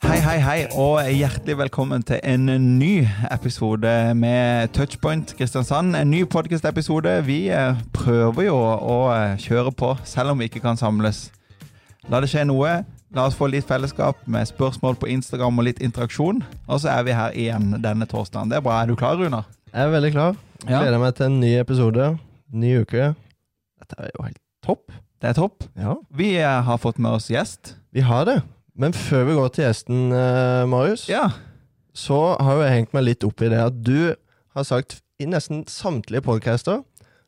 Hei, hei, hei, og hjertelig velkommen til en ny episode med Touchpoint Kristiansand. En ny podkast-episode. Vi eh, prøver jo å eh, kjøre på, selv om vi ikke kan samles. La det skje noe. La oss få litt fellesskap med spørsmål på Instagram og litt interaksjon. Og så er vi her igjen denne torsdagen. Det er bra. Er du klar, Runar? Jeg er veldig klar. Gleder meg til en ny episode. Ny uke. Dette er jo helt topp. Det er topp. Ja. Vi eh, har fått med oss gjest. Vi har det. Men før vi går til gjesten, eh, Marius, Ja. så har jo jeg hengt meg litt opp i det at du har sagt i nesten samtlige podcaster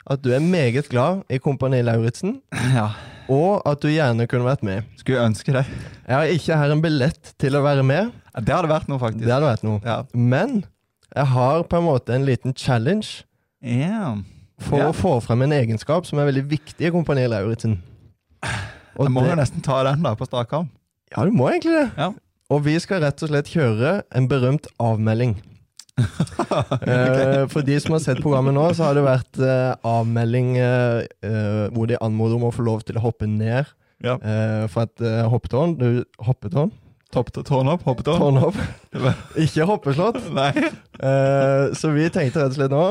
at du er meget glad i Kompani Lauritzen, ja. og at du gjerne kunne vært med. Skulle ønske det. Jeg har ikke her en billett til å være med. Ja, Det hadde vært noe, Det faktisk. hadde vært noe. Ja. Men jeg har på en måte en liten challenge Ja. for Ja. å få frem en egenskap som er veldig viktig i Kompani Lauritzen. Og Jeg må jo det, nesten ta den da, på strak arm. ja, du må egentlig det. Ja. Og vi skal rett og slett kjøre en berømt avmelding. Eh, For de som har sett programmet nå, så har det vært eh, avmelding eh, eh, hvor de anmoder om å få lov til å hoppe ned Ja. eh, fra et eh, hoppetårn. Du, hoppetårn? Topp til tårn opp, hoppet opp. Tårnhopp. Det var- Ikke hoppeslott. Nei. Eh, Så vi tenkte rett og slett nå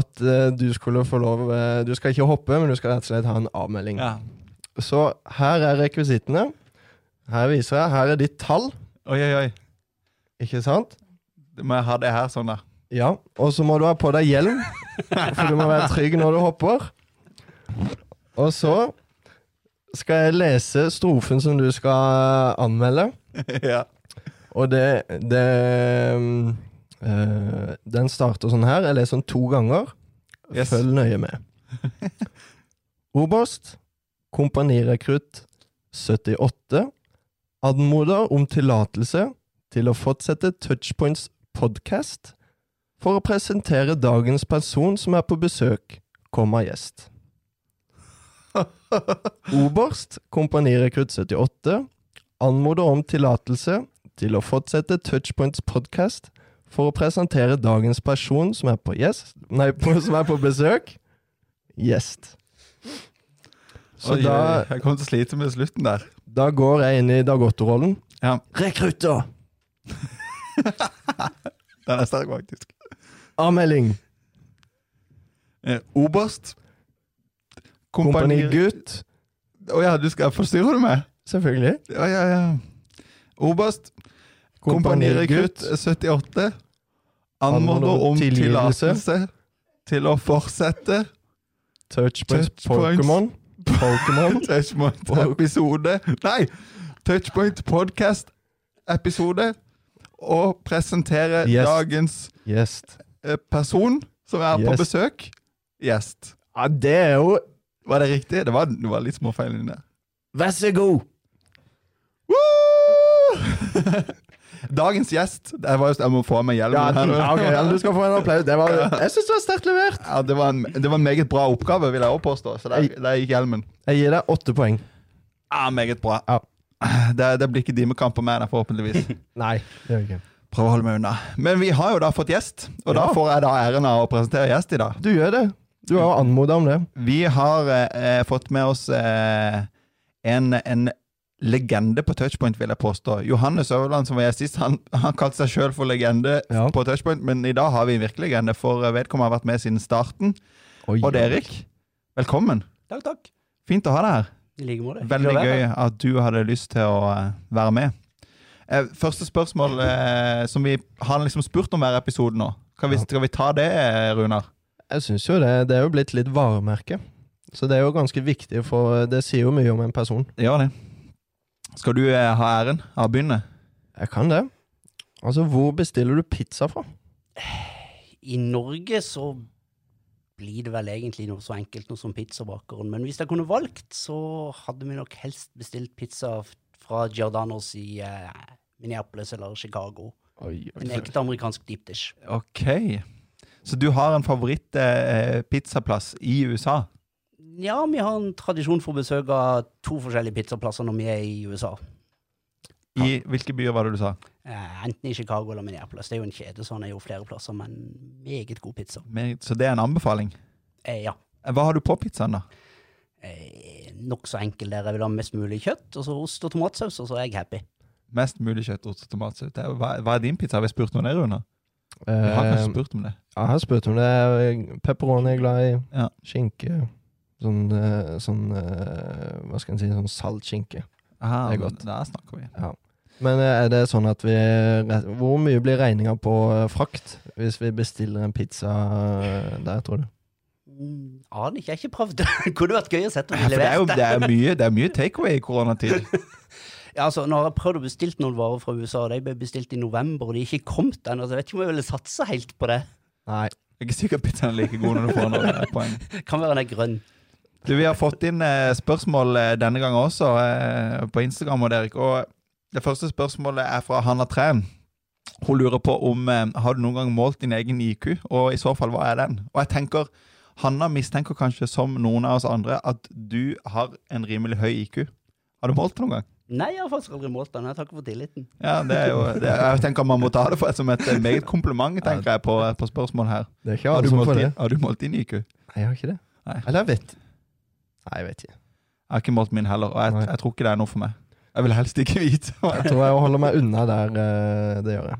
at eh, du skulle få lov eh, Du skal ikke hoppe, men du skal rett og slett ha en avmelding. Ja. Så her er rekvisittene. Her viser jeg. Her er ditt tall, Oi, oi, oi. ikke sant? Må jeg ha det her sånn, da? Ja, og så må du ha på deg hjelm, for du må være trygg når du hopper. Og så skal jeg lese strofen som du skal eh, anmelde, ja. og det, det mm, eh, Den starter sånn her. Jeg leser den to ganger. Yes. Følg nøye med. Oberst, kompanirekrutt 78, anmoder om tillatelse til å fortsette Touchpoints podcast for å presentere dagens person som er på besøk, komma gjest. Oberst, kompanirekrutt 78, anmoder om tillatelse til å fortsette Touchpoints podcast for å presentere dagens person som er på, gjest, nei, på, som er på besøk. Gjest. Så Oi, da, oi, Jeg kommer til å slite med slutten der. da går jeg inn i Dag Otto-rollen. Ja. Rekrutter! Den er sterk, faktisk. Avmelding! Eh, oberst. Kompanigutt. Å ja, du skal forstyrre du meg? Selvfølgelig. Ja, ja, ja. Oberst. Kompanirekrutt 78. Anmoder om Tilgivelse. tillatelse til å fortsette Touchpoints Touchpoints. Pokémon. Pokémon. Touchpoint-episode Nei! Touchpoint-podkast-episode og presentere Gjest. dagens Gjest. eh, person som er på Yes. besøk. Gjest. Ja, det er jo Var det riktig? Det var, det var litt småfeil inni der. Vær så god! Woo! dagens gjest det var just, Jeg må få av meg Ja, hjelmen. her nå. ok, ja, du skal få en applaus. Det var, jeg syns det var sterkt levert. Ja, det, var en, det var en meget bra oppgave, vil jeg også påstå. Så der, der gikk hjelmen. Jeg gir deg åtte poeng. Ja, meget bra. Ja. Det, det blir ikke dimekamp på meg, da, forhåpentligvis. Nei, det gjør jeg ikke. Prøv å holde meg unna. Men vi har jo da fått gjest, og da Ja. får jeg da æren av å presentere gjest i dag. Du gjør det. Du har jo anmoda om det. Vi har eh, eh, fått med oss eh, en, en legende på touchpoint, vil jeg påstå. Johannes Øverland, som var gjest sist, han, han kalte seg sjøl for legende Ja. på touchpoint, men i dag har vi en virkelig legende, for vedkommende har vært med siden starten. Og det, Erik, velkommen. Takk, takk. Fint å ha deg her. I like måte. Veldig Hyggelig å være gøy her. at du hadde lyst til å eh, være med. Eh, Første spørsmål eh, som vi har liksom spurt om hver episode nå. Kan vi, Ja. skal vi ta det, eh, Runar? Jeg syns jo det. Det er jo blitt litt varemerke. Så det er jo ganske viktig, for det sier jo mye om en person. Gjør det. Skal du eh, ha æren av å begynne? Jeg kan det. Altså, hvor bestiller du pizza fra? I Norge så blir det vel egentlig noe så enkelt noe som pizzabakeren, men hvis jeg kunne valgt, så hadde vi nok helst bestilt pizza f- fra Giordanos i eh, Minneapolis eller Chicago. En ekte amerikansk deep dish. Ok. Så du har en favoritt-pizzaplass i USA? Ja, vi har en tradisjon for å besøke to forskjellige pizzaplasser når vi er i USA. I hvilke byer var det du sa? Eh, enten i Chicago eller Minneapolis. Det er jo en kjede, så han er jo flere plasser, men meget god pizza. Med- Så det er en anbefaling. Eh, ja. Eh, Hva har du på pizzaen, da? Eh, nokså enkel der. Jeg vil ha mest mulig kjøtt, og så ost og tomatsaus, og så er jeg happy. Mest mulig kjøtt, ost og tomatsaus. Det er jo- Hva, hva er din pizza? Har vi spurt noen der, Rune? Vi har Eh, kanskje spurt om det. Ja, jeg har spurt om det. Pepperoni er jeg glad i. Ja. Skinke. Sånn, eh, sånn eh, Hva skal en si? Sånn saltskinke. Aha, det er men godt. Der snakker vi. Men eh, er det sånn at vi re- Hvor mye blir regninga på eh, frakt hvis vi bestiller en pizza eh, der, tror du? Mm, Aner ikke, jeg har ikke prøvd. Kunne vært gøy å sette Ja, for og det er jo levert. det er mye, det er mye takeaway i koronatid. Ja, altså, nå har jeg prøvd å bestilt noen varer fra USA, og de ble bestilt i november, og de er ikke kommet ennå, så jeg vet ikke om jeg ville satse helt på det. Nei. Jeg er ikke sikker på at pizzaen er like god når du får noen eh, poeng. Kan være den er grønn. Du, Vi har fått inn eh, spørsmål eh, denne gangen også eh, på Instagram. Og Erik, og det første spørsmålet er fra Hanna Træn. Hun lurer på om eh, har du noen gang målt din egen IQ, og i så fall, hva er den? Og jeg tenker, Hanna mistenker kanskje, som noen av oss andre, at du har en rimelig høy IQ. Har du målt det noen gang? Nei, jeg har faktisk aldri målt den. Jeg takker for tilliten. Ja, det er jo, det er, Jeg tenker man må ta det for, som et eh, meget kompliment, tenker jeg, på, på spørsmålet her. Det er ikke Har alle du, som målt får det. din, har du målt din IQ? Nei, jeg har ikke det. Nei. Eller jeg vet Nei, jeg vet ikke. Jeg har ikke målt min heller, og jeg, Nei. jeg tror ikke det er noe for meg. Jeg vil helst ikke vite. hva Jeg tror jeg holder meg unna der eh, det gjør jeg.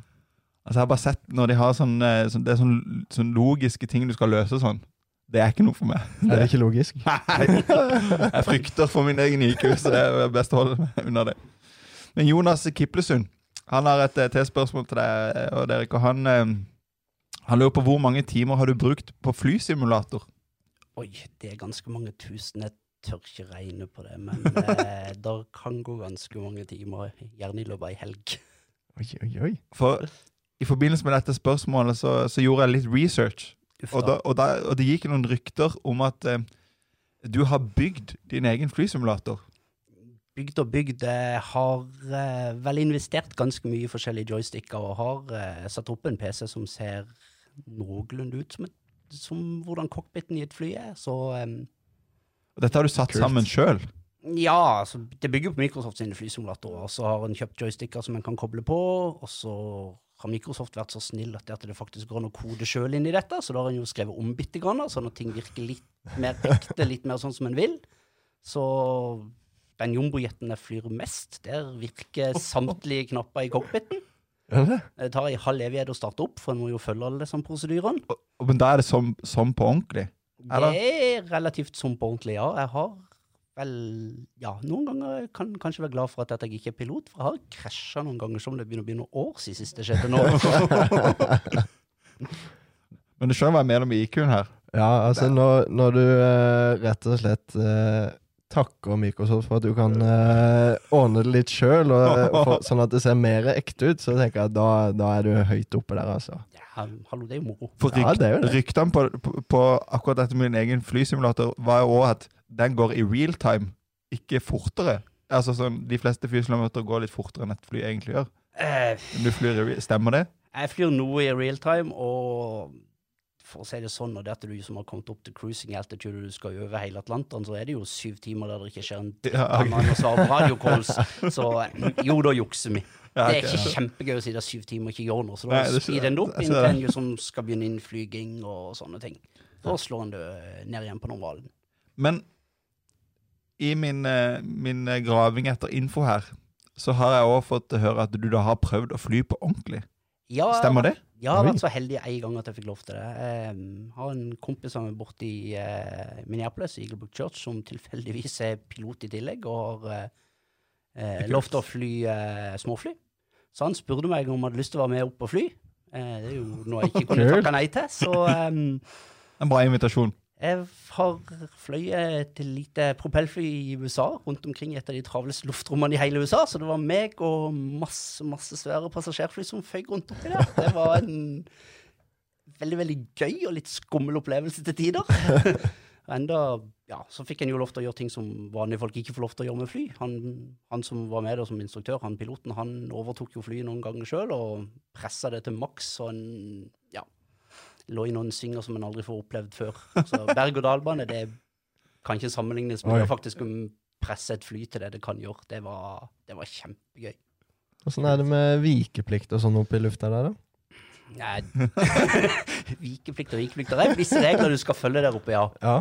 Altså, jeg har bare sett når de har sånn, eh, sånn, det er sånn, sånn logiske ting du skal løse og sånn. Det er ikke noe for meg. Er det ikke logisk? Nei. Jeg frykter for min egen IQ, så det er best å holde meg unna det. Men Jonas Kiplesund han har et eh, T-spørsmål til deg, eh, og Derek. Og han, eh, han lurer på hvor mange timer har du brukt på flysimulator? Oi, det er ganske mange tusen. Jeg tør ikke regne på det, men eh, det kan gå ganske mange timer, gjerne i løpet av ei helg. Oi, oi, oi. For i forbindelse med dette spørsmålet så, så gjorde jeg litt research. Uff Og, da, og, da, og det gikk noen rykter om at eh, du har bygd din egen flysimulator. Bygd og bygd eh, har eh, vel investert ganske mye i forskjellige joysticker og har eh, satt opp en PC som ser noenlunde ut som, et, som hvordan cockpiten i et fly er. Så eh, Og dette har du satt Kult. sammen sjøl. ja, altså, det bygger jo på Microsoft sine flysimulatorer. Og så har en kjøpt joysticker som en kan koble på, og så har Microsoft vært så snill at det, at det faktisk går an å kode sjøl inn i dette, så da har en jo skrevet om bitte grann, sånn at ting virker litt mer ekte, litt mer sånn som en vil. Så den jumbojetten jeg flyr mest, der virker samtlige knapper i cockpiten. Er det? Det tar ei halv evighet å starte opp, for en må jo følge alle disse prosedyrene. Men da er det som, som på ordentlig. Eller? Det er relativt som på ordentlig, ja. Jeg har vel Ja, noen ganger kan kanskje være glad for at jeg ikke er pilot, for jeg har krasja noen ganger som det begynner å bli noen år siden sist det skjedde nå. Men du skjønner hva jeg mener med IQ-en her. Ja, altså når, når du eh, rett og slett eh, takker Microsoft for at du kan eh, ordne det litt sjøl, sånn at det ser mer ekte ut, så tenker jeg at da, da er du høyt oppe der, altså. Ja, hallo, det er jo moro. For Ja, rykt, det er jo det. ryktene på, på, på akkurat dette med din egen flysimulator var jo òg at den går i real time, ikke fortere. Altså sånn, De fleste flysimulatorer går litt fortere enn et fly egentlig gjør. Eh, Men du flyr i real, Stemmer det? Jeg flyr noe i real time, og for å si det sånn, og det at du som har kommet opp til cruising altitude, og du skal over hele Atlanteren, så er det jo syv timer der det ikke skjer en Ja, ok. annet enn å svare på radiocalls. Så jo, da jukser vi. Ja, Det er ok. ikke kjempegøy å si det er syv timer og ikke gjør noe, så da Nei, det altså- skjønner speeder en det opp jeg. Jeg inntil skjønner. en jo som skal begynne innflyging og sånne ting. Da slår en det ned igjen på normalen. Men i min, eh, min eh, graving etter info her, så har jeg òg fått høre at du da har prøvd å fly på ordentlig. Ja, Stemmer det? Jeg har Oi. vært så heldig en gang at jeg fikk lov til det. Jeg har en kompis som er borte i eh, Minneapolis, i Eaglebrook Church, som tilfeldigvis er pilot i tillegg, og har eh, eh, Kult. lov til å fly eh, småfly. Så han spurte meg om jeg hadde lyst til å være med opp og fly. Eh, det er jo noe jeg ikke kunne Kult. takke nei til. Så em, En bra invitasjon. jeg har fløyet et lite propellfly i USA, rundt omkring i et av de travleste luftrommene i hele USA. Så det var meg og masse masse svære passasjerfly som føy rundt oppi der. Det var en veldig veldig gøy og litt skummel opplevelse til tider. Og Enda, ja, Så fikk en jo lov til å gjøre ting som vanlige folk ikke får lov til å gjøre med fly. Han, han som var med der som instruktør, han piloten, han overtok jo flyet noen ganger sjøl og pressa det til maks. og en, ja, lå i noen svinger som en aldri får opplevd før. Så berg-og-dal-bane det kan ikke sammenlignes med Oi. det å faktisk kunne presse et fly til det det kan gjøre. Det var, det var kjempegøy. Åssen er det med vikeplikt og sånn oppe i lufta der, da? Nei, vikeplikter, vikeplikter. Det er visse regler du skal følge der oppe, ja. Ja.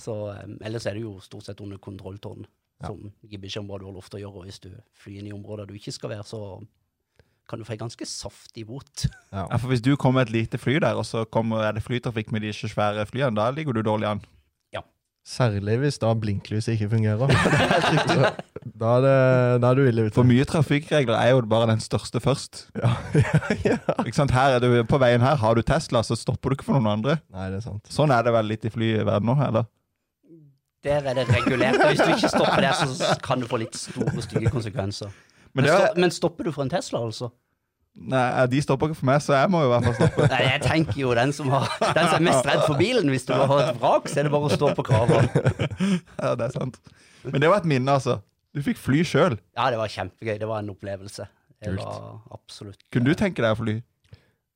Så um, ellers er det jo stort sett under kontrolltårn, Ja. som gir beskjed om hva du har lov til å gjøre. Og hvis du flyr inn i områder du ikke skal være, så kan du få en ganske saftig bot. Ja, for Hvis du kommer et lite fly der, og så kommer, er det flytrafikk med de ikke svære flyene, da ligger du dårlig an. Særlig hvis da blinklyset ikke fungerer. Det er helt riktig. da, er det, da er du ille ute. For mye trafikkregler er jo bare den største først. Ja, ja, ja. Ikke sant? Her er du, på veien her har du Tesla, så stopper du ikke for noen andre. Nei, det er sant. Sånn er det vel litt i flyverdenen òg, eller? Der er det regulert. og Hvis du ikke stopper der, så kan du få litt store, stygge konsekvenser. Men, Men det er, sto- men stopper du for en Tesla, altså? nei, de stopper ikke for meg, så jeg må jo i hvert fall stoppe. Nei, jeg tenker jo den som, har, den som er mest redd for bilen. Hvis du har et vrak, så er det bare å stå på krava. Ja, det er sant. Men det var et minne, altså. Du fikk fly sjøl. Ja, det var kjempegøy. Det var en opplevelse. Det Kult. var absolutt Kunne du tenke deg å fly?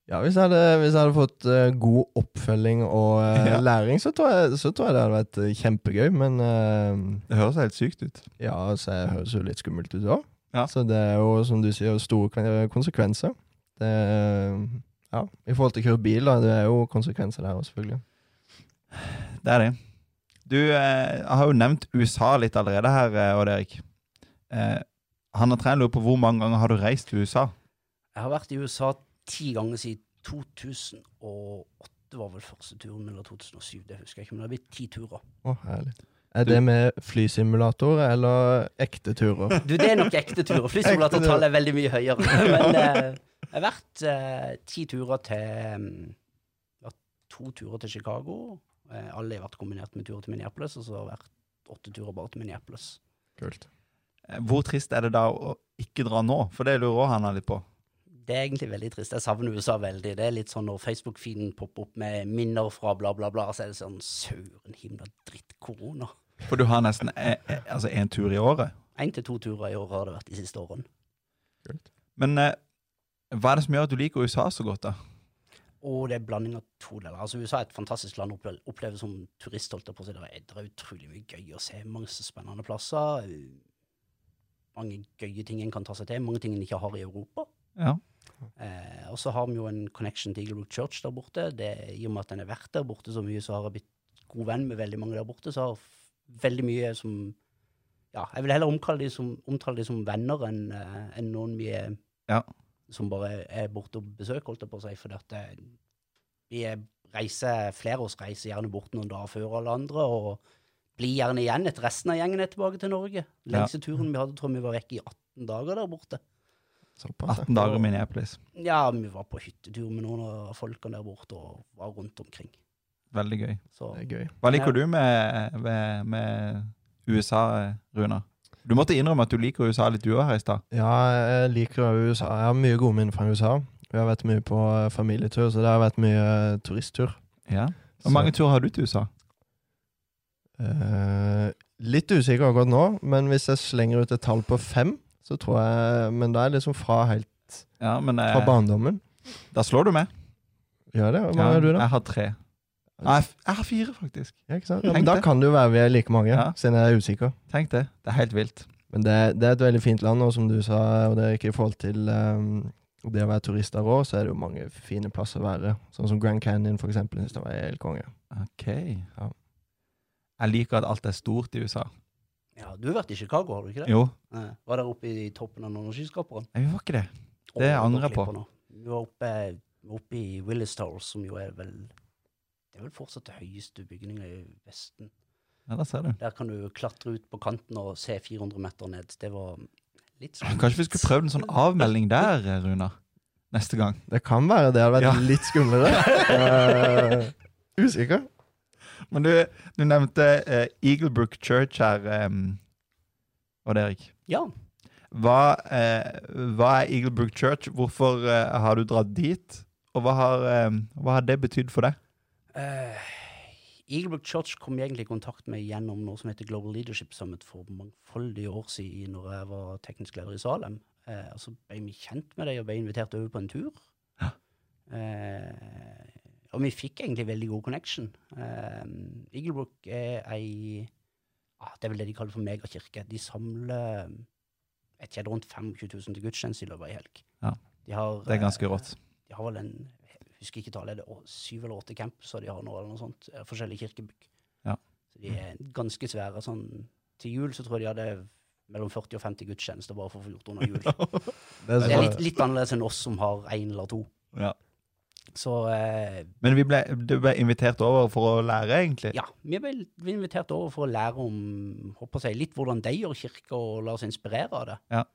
Ja, hvis jeg hadde, hvis jeg hadde fått eh, god oppfølging og eh, Ja. læring, så tror, jeg, så tror jeg det hadde vært eh, kjempegøy. Men eh, Det høres helt sykt ut. ja, så jeg høres jo litt skummelt ut òg. Ja. Så det er jo, som du sier, store kon- eh, konsekvenser. Det, ja, I forhold til å kjøre bil, da. Det er jo konsekvenser der òg, selvfølgelig. Det er det. Du eh, har jo nevnt USA litt allerede her, eh, Odd Erik. Eh, han har trent lurer på hvor mange ganger har du reist til USA? Jeg har vært i USA ti ganger siden 2008 var vel første turen, eller 2007, det husker jeg ikke. Men det har blitt ti turer. Å, herlig. Er Du- det med flysimulator eller ekte turer? Du, det er nok ekte turer. Flysimulatortallet er veldig mye høyere. Men eh, jeg har vært eh, ti turer til mm, ja, To turer til Chicago. Eh, alle har vært kombinert med turer til Minneapolis, og så har det vært åtte turer bare til Minneapolis. Kult. Eh, Hvor trist er det da å ikke dra nå? For det lurer også han litt på. Det er egentlig veldig trist. Jeg savner USA veldig. Det er litt sånn når Facebook-feeden popper opp med minner fra bla, bla, bla, så er det sånn Søren himla dritt korona. For du har nesten eh, eh, altså en tur i året. Én til to turer i året har det vært de siste årene. Men eh, hva er det som gjør at du liker USA så godt, da? Og det er en blanding av to deler. Altså USA er et fantastisk land å opple- oppleve som turist. holdt jeg på å si. Det er- det er utrolig mye gøy å se. Mange spennende plasser. eh, Mange gøye ting en kan ta seg til. Mange ting en ikke har i Europa. Ja. Eh, og så har vi jo en connection til Eagle Rock Church der borte. Det, I og med at den har vært der borte så mye, så har jeg blitt god venn med veldig mange der borte. Så har f- veldig mye som Ja, jeg vil heller omkalle de som, omtale de som venner enn eh, enn noen vi er Ja. som bare er borte og besøker, holdt jeg på å si. For dette, vi er- reiser flere av oss reiser gjerne bort noen dager før alle andre, og blir gjerne igjen etter resten av gjengen er tilbake til Norge. Lengste turen vi hadde, tror jeg vi var vekke i 18 dager der borte. Såpass. ja. 18 dager i Minneapolis. Ja, vi var på hyttetur med noen av folkene der borte og var rundt omkring. Veldig gøy. Så Det er gøy. Hva liker du med, med, med USA, eh, Runa? Du måtte innrømme at du liker USA litt du òg her i stad. Ja, jeg liker jo USA. Jeg har mye gode minner fra USA. Vi har vært mye på eh, familietur, så det har vært mye eh, turisttur. Ja. Så, Hvor mange turer har du til USA? eh, litt usikker akkurat nå, men hvis jeg slenger ut et tall på fem, så tror jeg Men da er det liksom fra, helt, Ja, men eh, fra barndommen. Da slår du meg. Gjør det? Hvor mange har du, da? Jeg har tre. Nei, jeg f- jeg har fire, faktisk. Ja, ikke sant? Ja, Tenk men da det. kan det jo være vi er like mange, Ja. siden jeg er usikker. Tenk det. Det er helt vilt. Men det, det er et veldig fint land, og som du sa, og det er ikke i forhold til eh, det å være turist der òg, så er det jo mange fine plasser å være. Sånn som Grand Canyon, for eksempel. Synes det var helt konge. Ok. Ja. Jeg liker at alt er stort i USA. ja, du har vært i Chicago, har du ikke det? Jo, Eh, Var der oppe i toppen av noen skyskraperen? jeg var ikke det. Å, Det nå angrer jeg klipper på. nå. Vi var oppe, oppe i Willis Tower, som jo er vel Det er vel fortsatt det høyeste bygninga i Vesten. Ja, da ser du. Der kan du klatre ut på kanten og se 400 meter ned. Det var litt sånn Kanskje vi skulle prøvd en sånn avmelding der, Runa. Neste gang. Det kan være det hadde vært Ja. litt skumlere. Eh, usikker. Men du, du nevnte eh, Eaglebrook Church her, em, Odd Erik. Ja. Hva, eh, hva er Eaglebrook Church? Hvorfor eh, har du dratt dit? Og hva har, em, hva har det betydd for deg? Eh, Eaglebrook Church kom jeg egentlig i kontakt med gjennom noe som heter Global Leadership Summit for mangfoldige år siden, når jeg var teknisk leder i Salem. Eh, og så ble vi kjent med dem og ble invitert over på en tur. Eh, og vi fikk egentlig veldig god connection. Eh, Eaglebrook er ei ah, Det er vel det de kaller for megakirke. De samler jeg vet ikke, rundt 25 000 til gudstjeneste i løpet av ei helg. Ja. De har, Det er ganske eh, rått. de har vel en jeg husker ikke tallet, er det å- syv eller åtte campuser de har nå, eller noe sånt. eh, Forskjellige kirkebygg. Ja. Så de er ganske svære. Sånn, til jul så tror jeg de hadde mellom 40 og 50 gudstjenester bare for å få gjort under jul. Det er Det er så, litt, litt annerledes enn oss som har én eller to. Ja. Så eh, Men vi ble, du ble invitert over for å lære, egentlig? ja, vi ble vi ble invitert over for å lære om håper jeg, litt hvordan de gjør kirka, og la oss inspirere av det. Ja.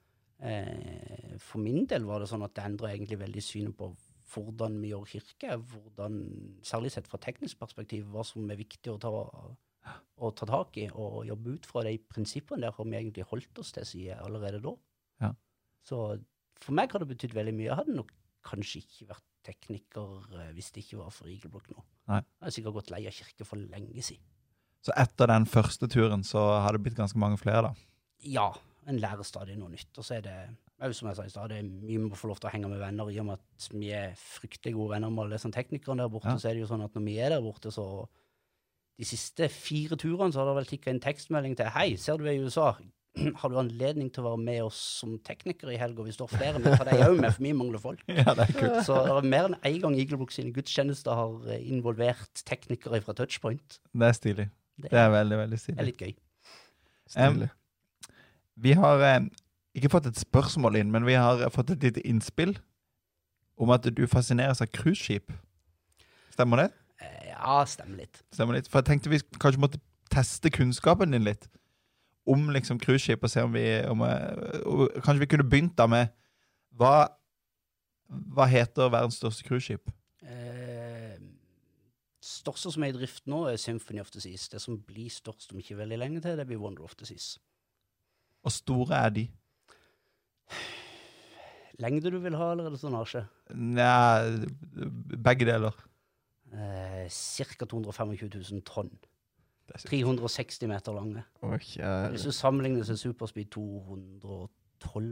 Eh, for min del var det sånn at det endra egentlig veldig synet på hvordan vi gjør kirke, hvordan, særlig sett fra teknisk perspektiv, hva som er viktig å ta, å ta tak i og jobbe ut fra de prinsippene der har vi egentlig holdt oss til siden allerede da. Ja. Så for meg har det betydd veldig mye. Jeg hadde nok kanskje ikke vært tekniker eh, hvis det ikke var for Igelblokk nå. Nei. Jeg har sikkert gått lei av kirke for lenge siden. Så etter den første turen så har det blitt ganske mange flere, da. Ja, en lærer stadig noe nytt. Og så er det jo som jeg sa i stad, det er mye vi må få lov til å henge med venner, i og med at vi er fryktelig gode venner med alle disse teknikerne der borte. Ja. Så er det jo sånn at når vi er der borte, så De siste fire turene så har det vel tikka en tekstmelding til Hei, ser du vi er i USA? Har du anledning til å være med oss som teknikere i helga? Vi står flere, men ta deg òg med, for vi mangler folk. Ja, det er kult. Så det er mer enn én gang Igelbukk sine gudstjenester har eh, involvert teknikere fra Touchpoint. Det er stilig. Det Det er veldig, veldig er stilig. litt gøy. stilig. Vi har eh, ikke fått et spørsmål inn, men vi har fått et lite innspill om at du fascineres av cruiseskip. Stemmer det? Eh, Ja, stemmer litt. Stemmer litt. For jeg tenkte vi kanskje måtte teste kunnskapen din litt om liksom cruiseskip, og se om vi om, eh, og Kanskje vi kunne begynt da med hva, hva heter verdens største cruiseskip? Eh, største som er i drift nå, er Symphony of the Seas. Det som blir størst om ikke veldig lenge til, det blir Wonder of the Seas. Og store er de? Lengde du vil ha, eller er det tonnasje? Nja, begge deler. Eh, Ca. 225 000 tonn. Det er sykt. 360 meter lange. Å, Hvis kjære. du sammenligner så er Superspeed 212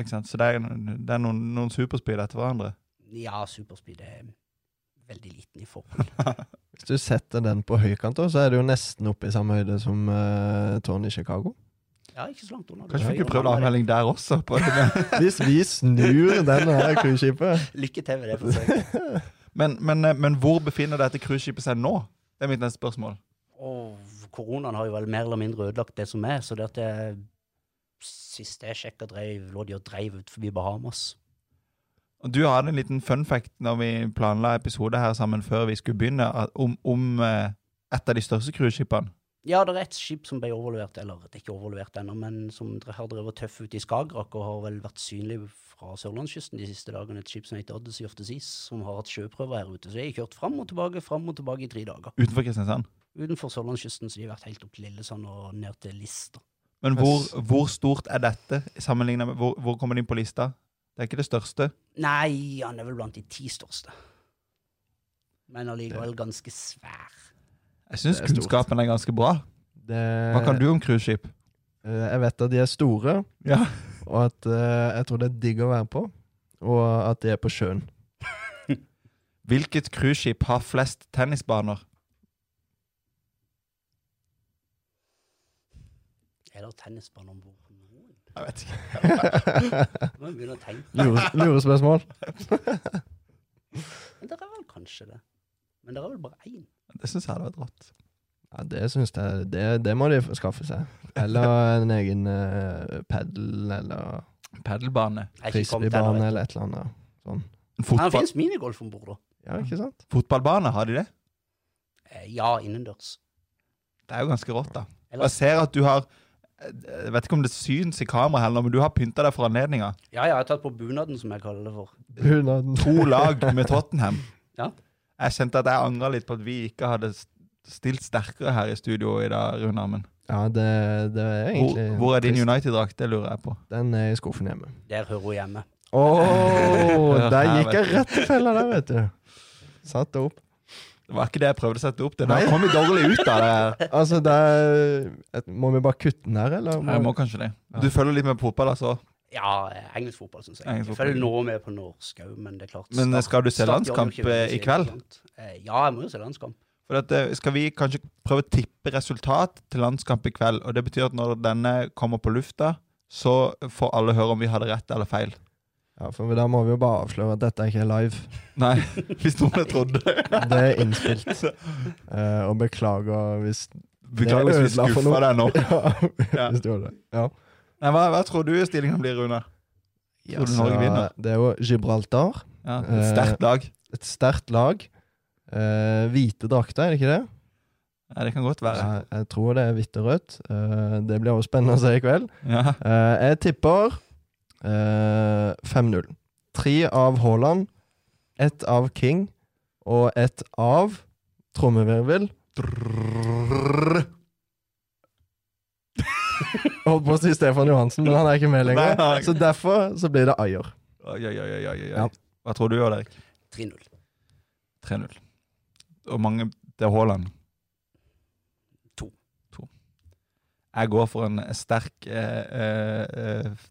Ikke sant? Så det er, det er noen, noen superspeed etter hverandre. Ja, Superspeed er veldig liten i forhold. Hvis du setter den på høykant, da, så er det jo nesten oppe i samme høyde som uh, tårnet i Chicago. Ja, ikke så langt unna. Kanskje vi kunne prøvd avmelding der også? På det. Hvis vi snur den her cruiseskipet Lykke til med det forsøket. Men, men, eh, men hvor befinner dette cruiseskipet seg nå? Det er mitt neste spørsmål. Og koronaen har jo vel mer eller mindre ødelagt det som er, så det at det siste jeg sjekka, lå de og dreiv ut forbi Bahamas. Og Du hadde en liten fun fact når vi planla episode her sammen før vi skulle begynne, at- om, om eh, et av de største cruiseskipene. Ja, det er et skip som ble overlevert, eller det er ikke overlevert ennå, men som dre- har drevet tøff ut i Skagerrak og har vel vært synlig fra sørlandskysten de siste dagene. Et skip som heter Odyssey of the Seas, som har hatt sjøprøver her ute. Så jeg har kjørt fram og tilbake, fram og tilbake i tre dager. Utenfor Kristiansand. Utenfor sørlandskysten, så de har vært helt opp til Lillesand og ned til Lister. Men hvor, hvor stort er dette sammenlignet med hvor, hvor kommer det inn på lista? Det er ikke det største. Nei, han er vel blant de ti største. Men allikevel ganske svær. Jeg syns Det er stort. kunnskapen er ganske bra. det, Hva kan du om cruiseskip? Eh, Jeg vet at de er store, Ja. og at eh, jeg tror det er digg å være på. Og at de er på sjøen. Hvilket cruiseskip har flest tennisbaner? Er det tennisbane om bord på noen? Jeg vet ikke. Nå må jeg begynne å tenke. Lure, lurespørsmål. Men det er vel kanskje det. Men det er vel bare én. Det syns jeg hadde vært rått. Ja, det syns jeg det, det må de skaffe seg. Eller en egen uh, padel eller Padelbane. Jeg er ikke kommet til frisbeebane det, vet eller et eller annet. Sånn. En du. Men det fotball, finnes minigolf om bord, da. Ja, ikke sant? fotballbane, har de det? Eh, Ja, innendørs. Det er jo ganske rått, da. Og Eller- jeg ser at du har Jeg vet ikke om det syns i kamera heller, men du har pynta deg for anledninga. Ja, ja, jeg har tatt på bunaden, som jeg kaller det for. Bunaden. To lag med Tottenham. Ja. Jeg kjente at jeg angra litt på at vi ikke hadde s- stilt sterkere her i studio i dag, Rune Armen. Ja, det, det er Hvor, egentlig hvor er din trist. United-drakt? Det lurer jeg på. Den er i skuffen hjemme. Der hører hun hjemme. Å, der Her, gikk jeg rett i fella der, vet du. Satt det opp. Det var ikke det jeg prøvde å sette opp til. Da Nei. kom vi dårlig ut av det. her. Altså, det er et- Må vi bare kutte den her, eller? Jeg må kanskje det. Du følger litt med på fotball, altså? Ja, eh, engelsk fotball, syns jeg. Engelsk Jeg fotball. følger nå med på norsk òg, men det er klart Men eh, skal du se Start gjør jo landskamp ikke veldig eh, i kveld? Eh, Ja, jeg må jo se landskamp. For at, eh, skal vi kanskje prøve å tippe resultat til landskamp i kveld? Og det betyr at når denne kommer på lufta, så får alle høre om vi hadde rett eller feil. Ja, for da må vi jo bare avsløre at dette er ikke live. Nei, hvis noen hadde trodd det. Det er innspilt. Eh, og beklager hvis Beklager hvis vi ødela for skuffa noe. deg nå. Ja, Ja. hvis du gjorde det. Ja. Nei, hva, hva tror du stillinga blir, Rune? Tror du Ja, så Norge vinner? Altså, Det er jo Gibraltar. Ja, et sterkt lag. Et sterkt lag. Eh, hvite drakter, er det ikke det? Ja, det kan godt være. Jeg, jeg tror det er hvitt og rødt. Eh, det blir også spennende å se i kveld. Ja. Eh, jeg tipper eh, 5-0. Tre av Haaland, ett av King og ett av trommevirvel Holdt på å si Stefan Johansen, men han er ikke med lenger. Nei, nei. Så derfor så blir det Ayer. Oi, oi, oi, oi, oi. Ja. oi. Hva tror du, Odd Erik? 3-0. 3-0. Og mange til Haaland? To. To. Jeg går for en sterk eh, eh, eh,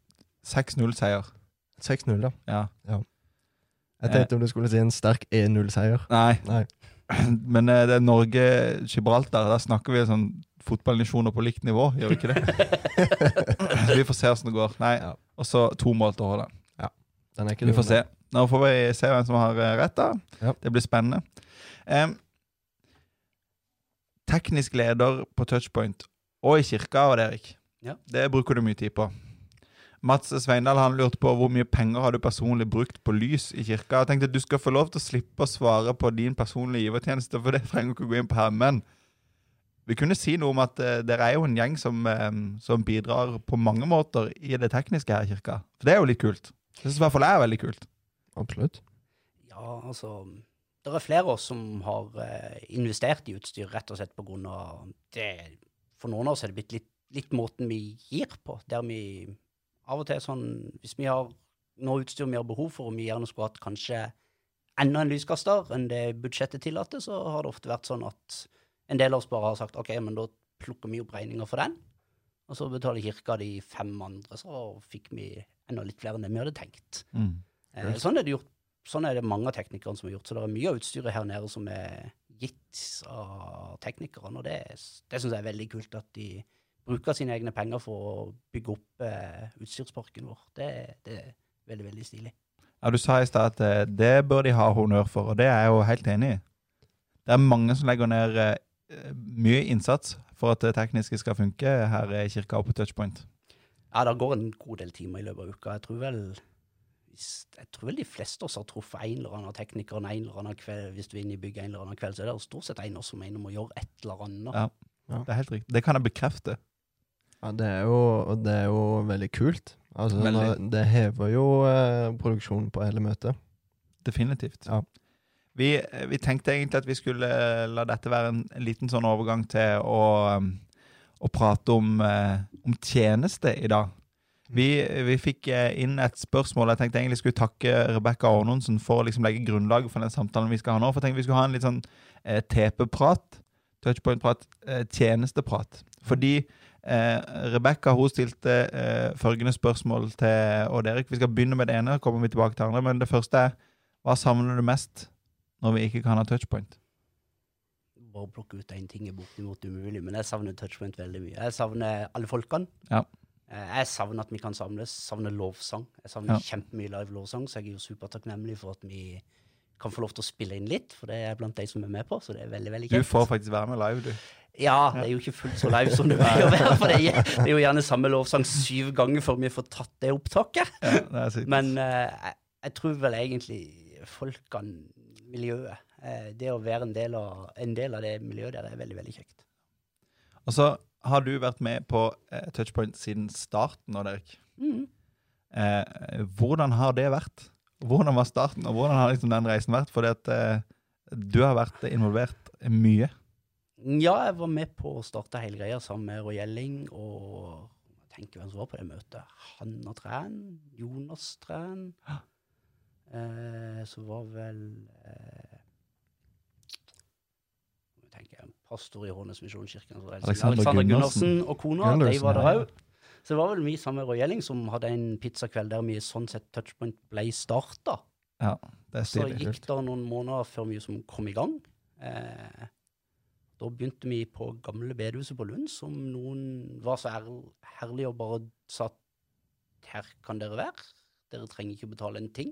6-0-seier. 6-0, da. Ja. Jeg tenkte om du skulle si en sterk 1-0-seier. Nei, Nei. men eh, det er Norge-Gibraltar. Da snakker vi sånn fotballnisjoner på likt nivå, gjør vi ikke det? Så vi får se åssen det går. Nei. Ja. Og så to mål til Haaland. Den er ikke Vi dum, får se. Nå får vi se hvem som har eh, rett, da. Ja. Det blir spennende. Em, teknisk leder på Touchpoint og i kirka, Odd Erik, Ja. det bruker du mye tid på. Mats Sveindal han lurte på hvor mye penger har du personlig brukt på lys i kirka. Jeg tenkte at Du skal få lov til å slippe å svare på din personlige givertjeneste, for det trenger du ikke å gå inn på her. Men vi kunne si noe om at eh, dere er jo en gjeng som, em, som bidrar på mange måter i det tekniske her i kirka. For det er jo litt kult. Det syns i hvert fall jeg er veldig kult. Absolutt. Ja, altså Det er flere av oss som har eh, investert i utstyr rett og slett på grunn av det For noen av oss er det blitt litt, litt måten vi gir på, der vi av og til sånn Hvis vi har noe utstyr vi har behov for, og vi gjerne skulle hatt kanskje enda en lyskaster enn det budsjettet tillater, så har det ofte vært sånn at en del av oss bare har sagt OK, men da plukker vi opp regninga for den, og så betaler kirka de fem andre, så fikk vi enda litt flere enn det vi hadde tenkt. Eh, Kult. sånn, er det gjort, sånn er det mange av teknikerne som har gjort. Så det er mye av utstyret her nede som er gitt av teknikerne, og det, det syns jeg er veldig kult at de bruker sine egne penger for å bygge opp eh, utstyrsparken vår. Det, det er veldig, veldig stilig. Ja, Du sa i stad at eh, det bør de ha honnør for, og det er jeg jo helt enig i. Det er mange som legger ned eh, mye innsats for at det tekniske skal funke her i kirka og på touchpoint. Ja, det går en god del timer i løpet av uka. Jeg tror vel hvis- jeg tror vel de fleste av oss har truffet en eller annen tekniker en eller annen kveld. Hvis du er inne i bygget en eller annen kveld, så er det stort sett en av oss som er inne og gjør et eller annet. Ja. Det er helt riktig. Det kan jeg bekrefte. Ja, det er jo, og det er jo veldig kult. Altså, Veldig. nå- Det hever jo eh, produksjonen på hele møtet. Definitivt. Ja. Vi, vi tenkte egentlig at vi skulle eh, la dette være en liten sånn overgang til å, um, å prate om, eh, om tjeneste i dag. Vi, vi fikk eh, inn et spørsmål. Jeg tenkte egentlig skulle takke Rebekka Arnonsen for å liksom legge grunnlaget for den samtalen vi skal ha nå. For jeg tenkte vi skulle ha en litt sånn eh, TP-prat, touchpoint-prat, eh, tjenesteprat. Fordi eh, Rebekka hun stilte eh, følgende spørsmål til Odd Erik. Vi skal begynne med det ene, kommer vi tilbake til det andre. Men det første er hva savner du mest når vi ikke kan ha touchpoint? bare plukke ut én ting er bortimot umulig, men jeg savner touchpoint veldig mye. Jeg savner alle folkene. Ja. Eh, Jeg savner at vi kan samles. Savner lovsang. Jeg savner Ja. kjempemye live lovsang, så jeg er jo supertakknemlig for at vi kan få lov til å spille inn litt, for det er blant de som er med på, så det er veldig, veldig Du kjekt. får faktisk være med live, du. Ja, det er jo ikke fullt så live som det pleier å være, for det er det er jo gjerne samme lovsang syv ganger før vi får tatt det opptaket. Ja, det er sykt. Men eh, jeg, jeg tror vel egentlig folkene, miljøet eh, Det å være en del, av, en del av det miljøet der er veldig, veldig kjekt. Og så har du vært med på eh, touchpoint siden starten, Odd Erik. Mm. Eh, hvordan har det vært? Hvordan var starten, og hvordan har liksom den reisen vært? Fordi at eh, du har vært involvert mye. Ja, jeg var med på å starte hele greia sammen med Roy Gjelling og jeg tenker hvem som var på det møtet. Hanna Træn, Jonas Træn eh, Så var vel eh, jeg tenker jeg, pastor i Hånes misjonskirke. så var det Alexander Gunnarsen. og kona. Gunnarsen, de var der ja. òg. Så det var vel vi sammen med Roy Gjelling som hadde en pizzakveld der vi sånn sett touchpoint ble starta. Det er Så stilig. gikk det noen måneder før vi som kom i gang. Eh, da begynte vi på gamle bedehuset på Lund, som noen var så ærl- herlige og bare sa at her kan dere være. Dere trenger ikke å betale en ting.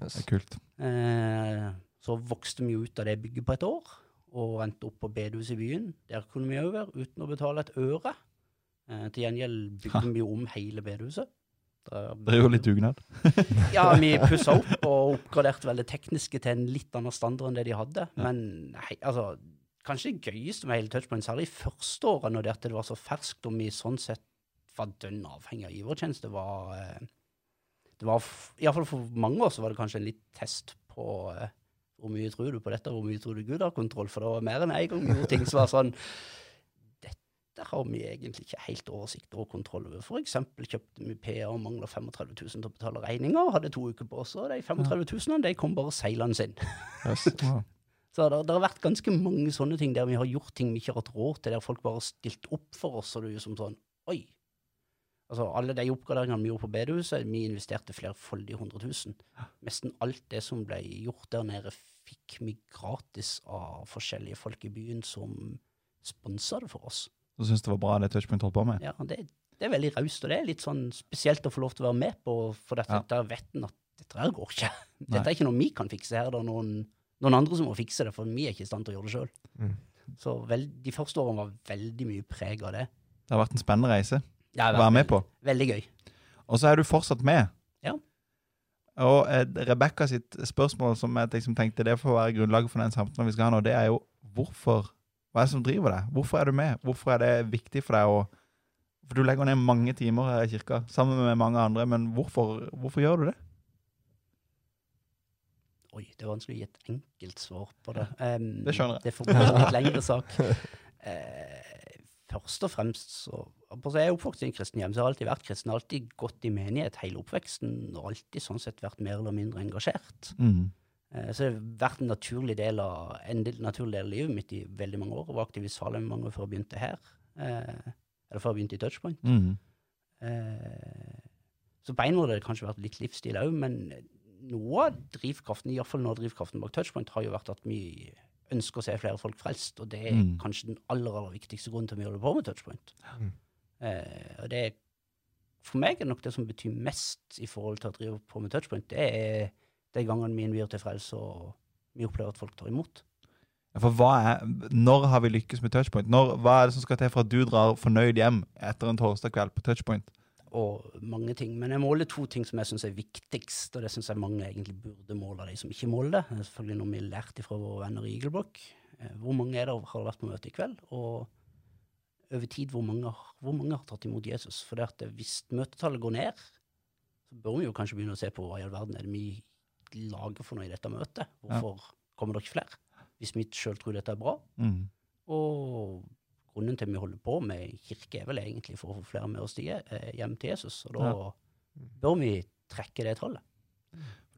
Det er kult. Eh, så vokste vi jo ut av det bygget på et år, og endte opp på bedehuset i byen. Der kunne vi òg være uten å betale et øre. Eh, til gjengjeld bygde vi jo om hele bedehuset. Der- Driver jo litt dugnad. Ja, vi pussa opp og oppgraderte vel det tekniske til en litt annen standard enn det de hadde. Men hei, altså, kanskje det gøyeste med hele Touchpoint, særlig i første året, når det at det var så ferskt, og vi sånn sett var dønn avhengig av givertjeneste, var eh, det var, f- i hvert fall For mange år så var det kanskje en litt test på eh, hvor mye tror du på dette, hvor mye tror du Gud har kontroll, for det var mer enn en gang vi gjorde ting som var sånn dette har vi egentlig ikke helt oversikt og kontroll over. For eksempel kjøpte vi PA og mangla 35 000 til å betale regninger, og hadde to uker på oss, og de 35 000 de kom bare seilende inn. Yes. Wow. Så det, det har vært ganske mange sånne ting der vi har gjort ting vi ikke har hatt råd til, der folk bare har stilt opp for oss, og det er jo som sånn Oi! Altså, alle de oppgraderingene vi gjorde på bedehuset, vi investerte flerfoldige hundre tusen. Nesten alt det som ble gjort der nede, fikk vi gratis av forskjellige folk i byen som sponsa det for oss. Så syns det var bra det Touchpoint holdt på med. Ja, det, det er veldig raust, og det er litt sånn spesielt å få lov til å være med på, for dette, Ja. der vet en at dette her går ikke. Dette Nei. er ikke noe vi kan fikse her, det er noen, noen andre som må fikse det, for vi er ikke i stand til å gjøre det sjøl. Mm. Så vel, de første årene var veldig mye preg av det. Det har vært en spennende reise Det har å vært være med på. Veldig gøy. Og så er du fortsatt med. Ja. Og eh, Rebekka sitt spørsmål, som jeg liksom tenkte det får være grunnlaget for den samtalen vi skal ha nå, det er jo hvorfor? Hva er det som driver deg? Hvorfor er du med? Hvorfor er det viktig for deg å For du legger ned mange timer her i kirka sammen med mange andre, men hvorfor, hvorfor gjør du det? Oi, det er vanskelig å gi et enkelt svar på det. Em, det skjønner jeg. Det får bli en litt lengre sak. Eh, først og fremst så altså Jeg er oppvokst i en kristen hjem, så jeg har alltid vært kristen. Jeg har Alltid gått i menighet hele oppveksten, og alltid sånn sett vært mer eller mindre engasjert. Mm, Eh, Så det har vært en naturlig del av, en del, naturlig del av livet mitt i veldig mange år. Jeg var aktiv i Salem mange år før jeg begynte her. Eh, eller før jeg begynte i Touchpoint. Mhm. Eh, så på en måte har det kanskje vært litt livsstil òg, men noe av drivkraften, iallfall noe av drivkraften bak touchpoint, har jo vært at vi ønsker å se flere folk frelst, og det er Mm. kanskje den aller, aller viktigste grunnen til at vi holder på med touchpoint. Mm. Eh, og det er for meg er nok det som betyr mest i forhold til å drive på med touchpoint, det er de gangene vi innbyr til frelse, og vi opplever at folk tar imot. Ja, For hva er, Når har vi lykkes med touchpoint? Når, hva er det som skal til for at du drar fornøyd hjem etter en torsdag kveld på touchpoint? og mange ting. Men jeg måler to ting som jeg syns er viktigst, og det syns jeg mange egentlig burde måle, de som ikke måler det. Det er selvfølgelig noe vi har lært ifra våre venner i Eagleblokk. Eh, Hvor mange er det har vært på møte i kveld? Og over tid, hvor mange, har- hvor mange har tatt imot Jesus? For det at det- hvis møtetallet går ned, så bør vi jo kanskje begynne å se på hva i all verden er det vi lager for noe i dette møtet? Ja. Hvorfor kommer det ikke flere? Hvis vi sjøl tror dette er bra, Mhm. og grunnen til at vi holder på med kirke, er vel egentlig for å få flere med oss til, Je- eh, hjem til Jesus. Og da bør vi trekke det tallet.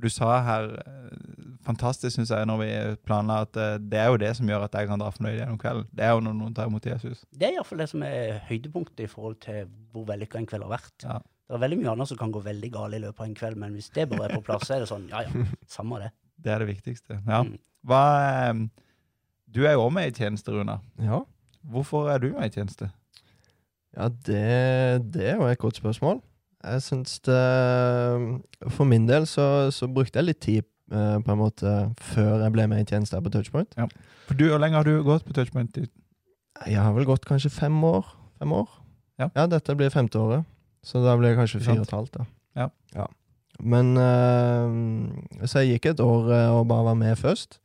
Du sa her eh, Fantastisk, syns jeg, når vi planla at eh, det er jo det som gjør at jeg kan dra fornøyd gjennom kvelden. Det er jo når noen tar imot Jesus. Det er iallfall det som er høydepunktet i forhold til hvor vellykka en kveld har vært. Ja. Det er veldig mye annet som kan gå veldig galt i løpet av en kveld, men hvis det bare er på plass, så er det sånn, ja ja, samme det. Det er det viktigste. Ja. Mm. Hva, eh, du er jo òg med i tjeneste, Runa. Ja. Hvorfor er du med i tjeneste? Ja, det, det er jo et godt spørsmål. Jeg syns det For min del så, så brukte jeg litt tid eh, på en måte før jeg ble med i tjeneste her på Touchpoint. For du, Hvor lenge har du gått på touchpoint? Jeg har vel gått kanskje fem år. Fem år? Ja. dette blir femte året. Så da blir det kanskje Ikke sant? fire og et halvt, da. Ja. Men eh, Så jeg gikk et år eh, og bare var med først.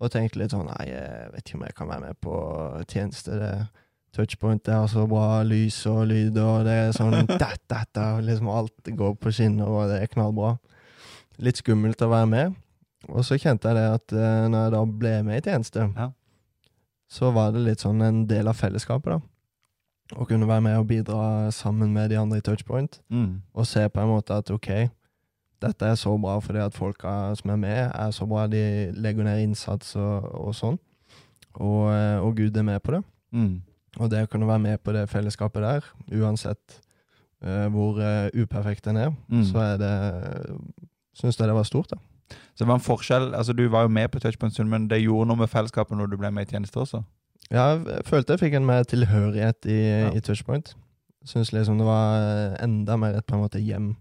Og tenkte litt sånn Nei, jeg vet ikke om jeg kan være med på tjeneste. Det, touchpoint det har så bra lys og lyd, og det er sånn dat, dat, da, og liksom Alt går på skinner, og det er knallbra. Litt skummelt å være med. Og så kjente jeg det at eh, når jeg da ble med i tjeneste, Ja. så var det litt sånn en del av fellesskapet, da. Å kunne være med og bidra sammen med de andre i touchpoint Mm. og se på en måte at ok, dette er så bra fordi at folka som er med, er så bra. De legger ned innsats og, og sånn. Og, eh, og Gud er med på det. Mm. Og det å kunne være med på det fellesskapet der, uansett eh, hvor eh, uperfekt en er, Mm. så er det Syns jeg det var stort, da. Så det var en forskjell. altså Du var jo med på touchpoint, en stund, men det gjorde noe med fellesskapet når du ble med i tjeneste også. Ja, jeg følte jeg fikk en mer tilhørighet i, Ja. eh, i touchpoint. Syns liksom det var enda mer et på en måte hjem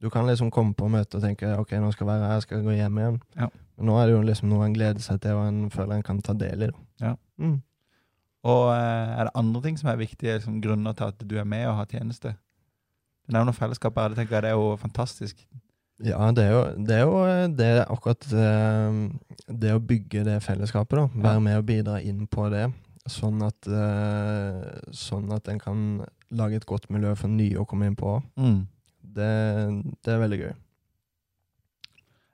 Du kan liksom komme på møte og tenke ok, nå skal jeg være her, jeg skal gå hjem igjen. Ja. Men nå er det jo liksom noe en gleder seg til og en føler en kan ta del i. Da. Ja. Mm. Og eh, er det andre ting som er viktige liksom, grunner til at du er med og har tjeneste? Du nevner fellesskapet her, det tenker jeg det er jo fantastisk. ja, det er jo det, er jo eh, det er akkurat eh, det å bygge det fellesskapet, da. Ja. Være med og bidra inn på det, sånn at, eh, sånn at en kan lage et godt miljø for nye å komme inn på. Det, det er veldig gøy.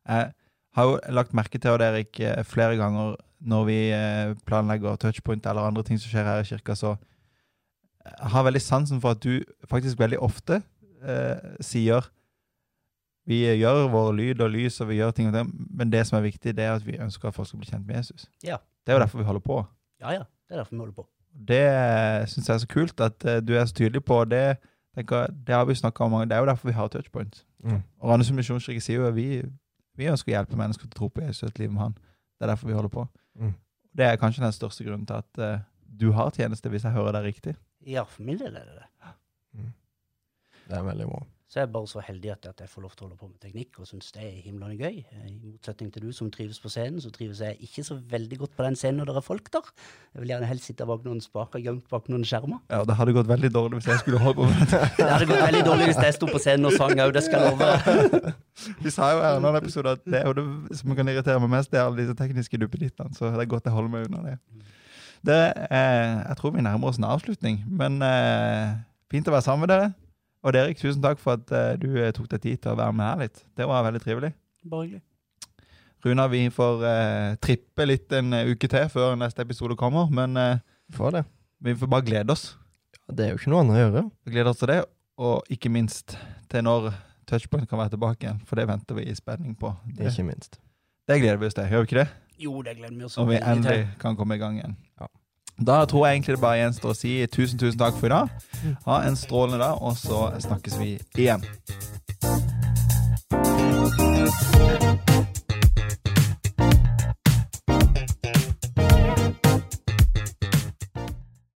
Jeg har jo lagt merke til, og det er ikke flere ganger når vi eh, planlegger touchpoint eller andre ting som skjer her i kirka, så jeg har veldig sansen for at du faktisk veldig ofte eh, sier vi gjør vår lyd og lys, og vi gjør ting og ting, men det som er viktig, det er at vi ønsker at folk skal bli kjent med Jesus. Ja. Det er jo derfor vi holder på. Ja, ja. Det er derfor vi holder på. Det syns jeg er så kult at eh, du er så tydelig på det. Tenker, jeg- det har vi snakket om mange Det er jo derfor vi har touchpoint. Mm. Og Randesund misjonskirke sier jo at vi, vi ønsker å hjelpe mennesker til å tro på Jesus og et liv med han. Det er derfor vi holder på. Mm. Det er kanskje den største grunnen til at eh, du har tjeneste, hvis jeg hører deg riktig. Ja, for min del er det det. Det er veldig bra. Så jeg er bare så heldig at, at jeg får lov til å holde på med teknikk og syns det er himlende gøy. Eh, I motsetning til du som trives på scenen, så trives jeg ikke så veldig godt på den scenen når det er folk der. Jeg vil gjerne helst sitte bak noen spaker, gjemt bak noen skjermer. Ja, Det hadde gått veldig dårlig hvis jeg skulle holde på med dette. Det hadde gått veldig dårlig hvis jeg sto på scenen og sang òg, det skal jeg love. Vi sa jo her i en annen episode at det er jo det som kan irritere meg mest, det er alle disse tekniske duppedittene. Så det er godt jeg holder meg unna det. det eh, jeg tror vi nærmer oss en avslutning, men eh, fint å være sammen med dere. Og Derek, tusen takk for at eh, du eh, tok deg tid til å være med her litt. Det var veldig trivelig. Bare hyggelig. Runa, vi får eh, trippe litt en eh, uke til før neste episode kommer, men eh, For det. vi får bare glede oss. Det er jo ikke noe annet å gjøre. Vi gleder oss til det, og ikke minst til når touchpoint kan være tilbake igjen, for det venter vi i spenning på. Det, Ikke minst. det gleder vi oss til, gjør vi ikke det? Jo, det gleder vi oss Og vi veldig til. endelig kan komme i gang igjen. Ja. Da tror jeg egentlig det bare gjenstår å si tusen, tusen takk for i dag. Ha en strålende dag, og så snakkes vi igjen.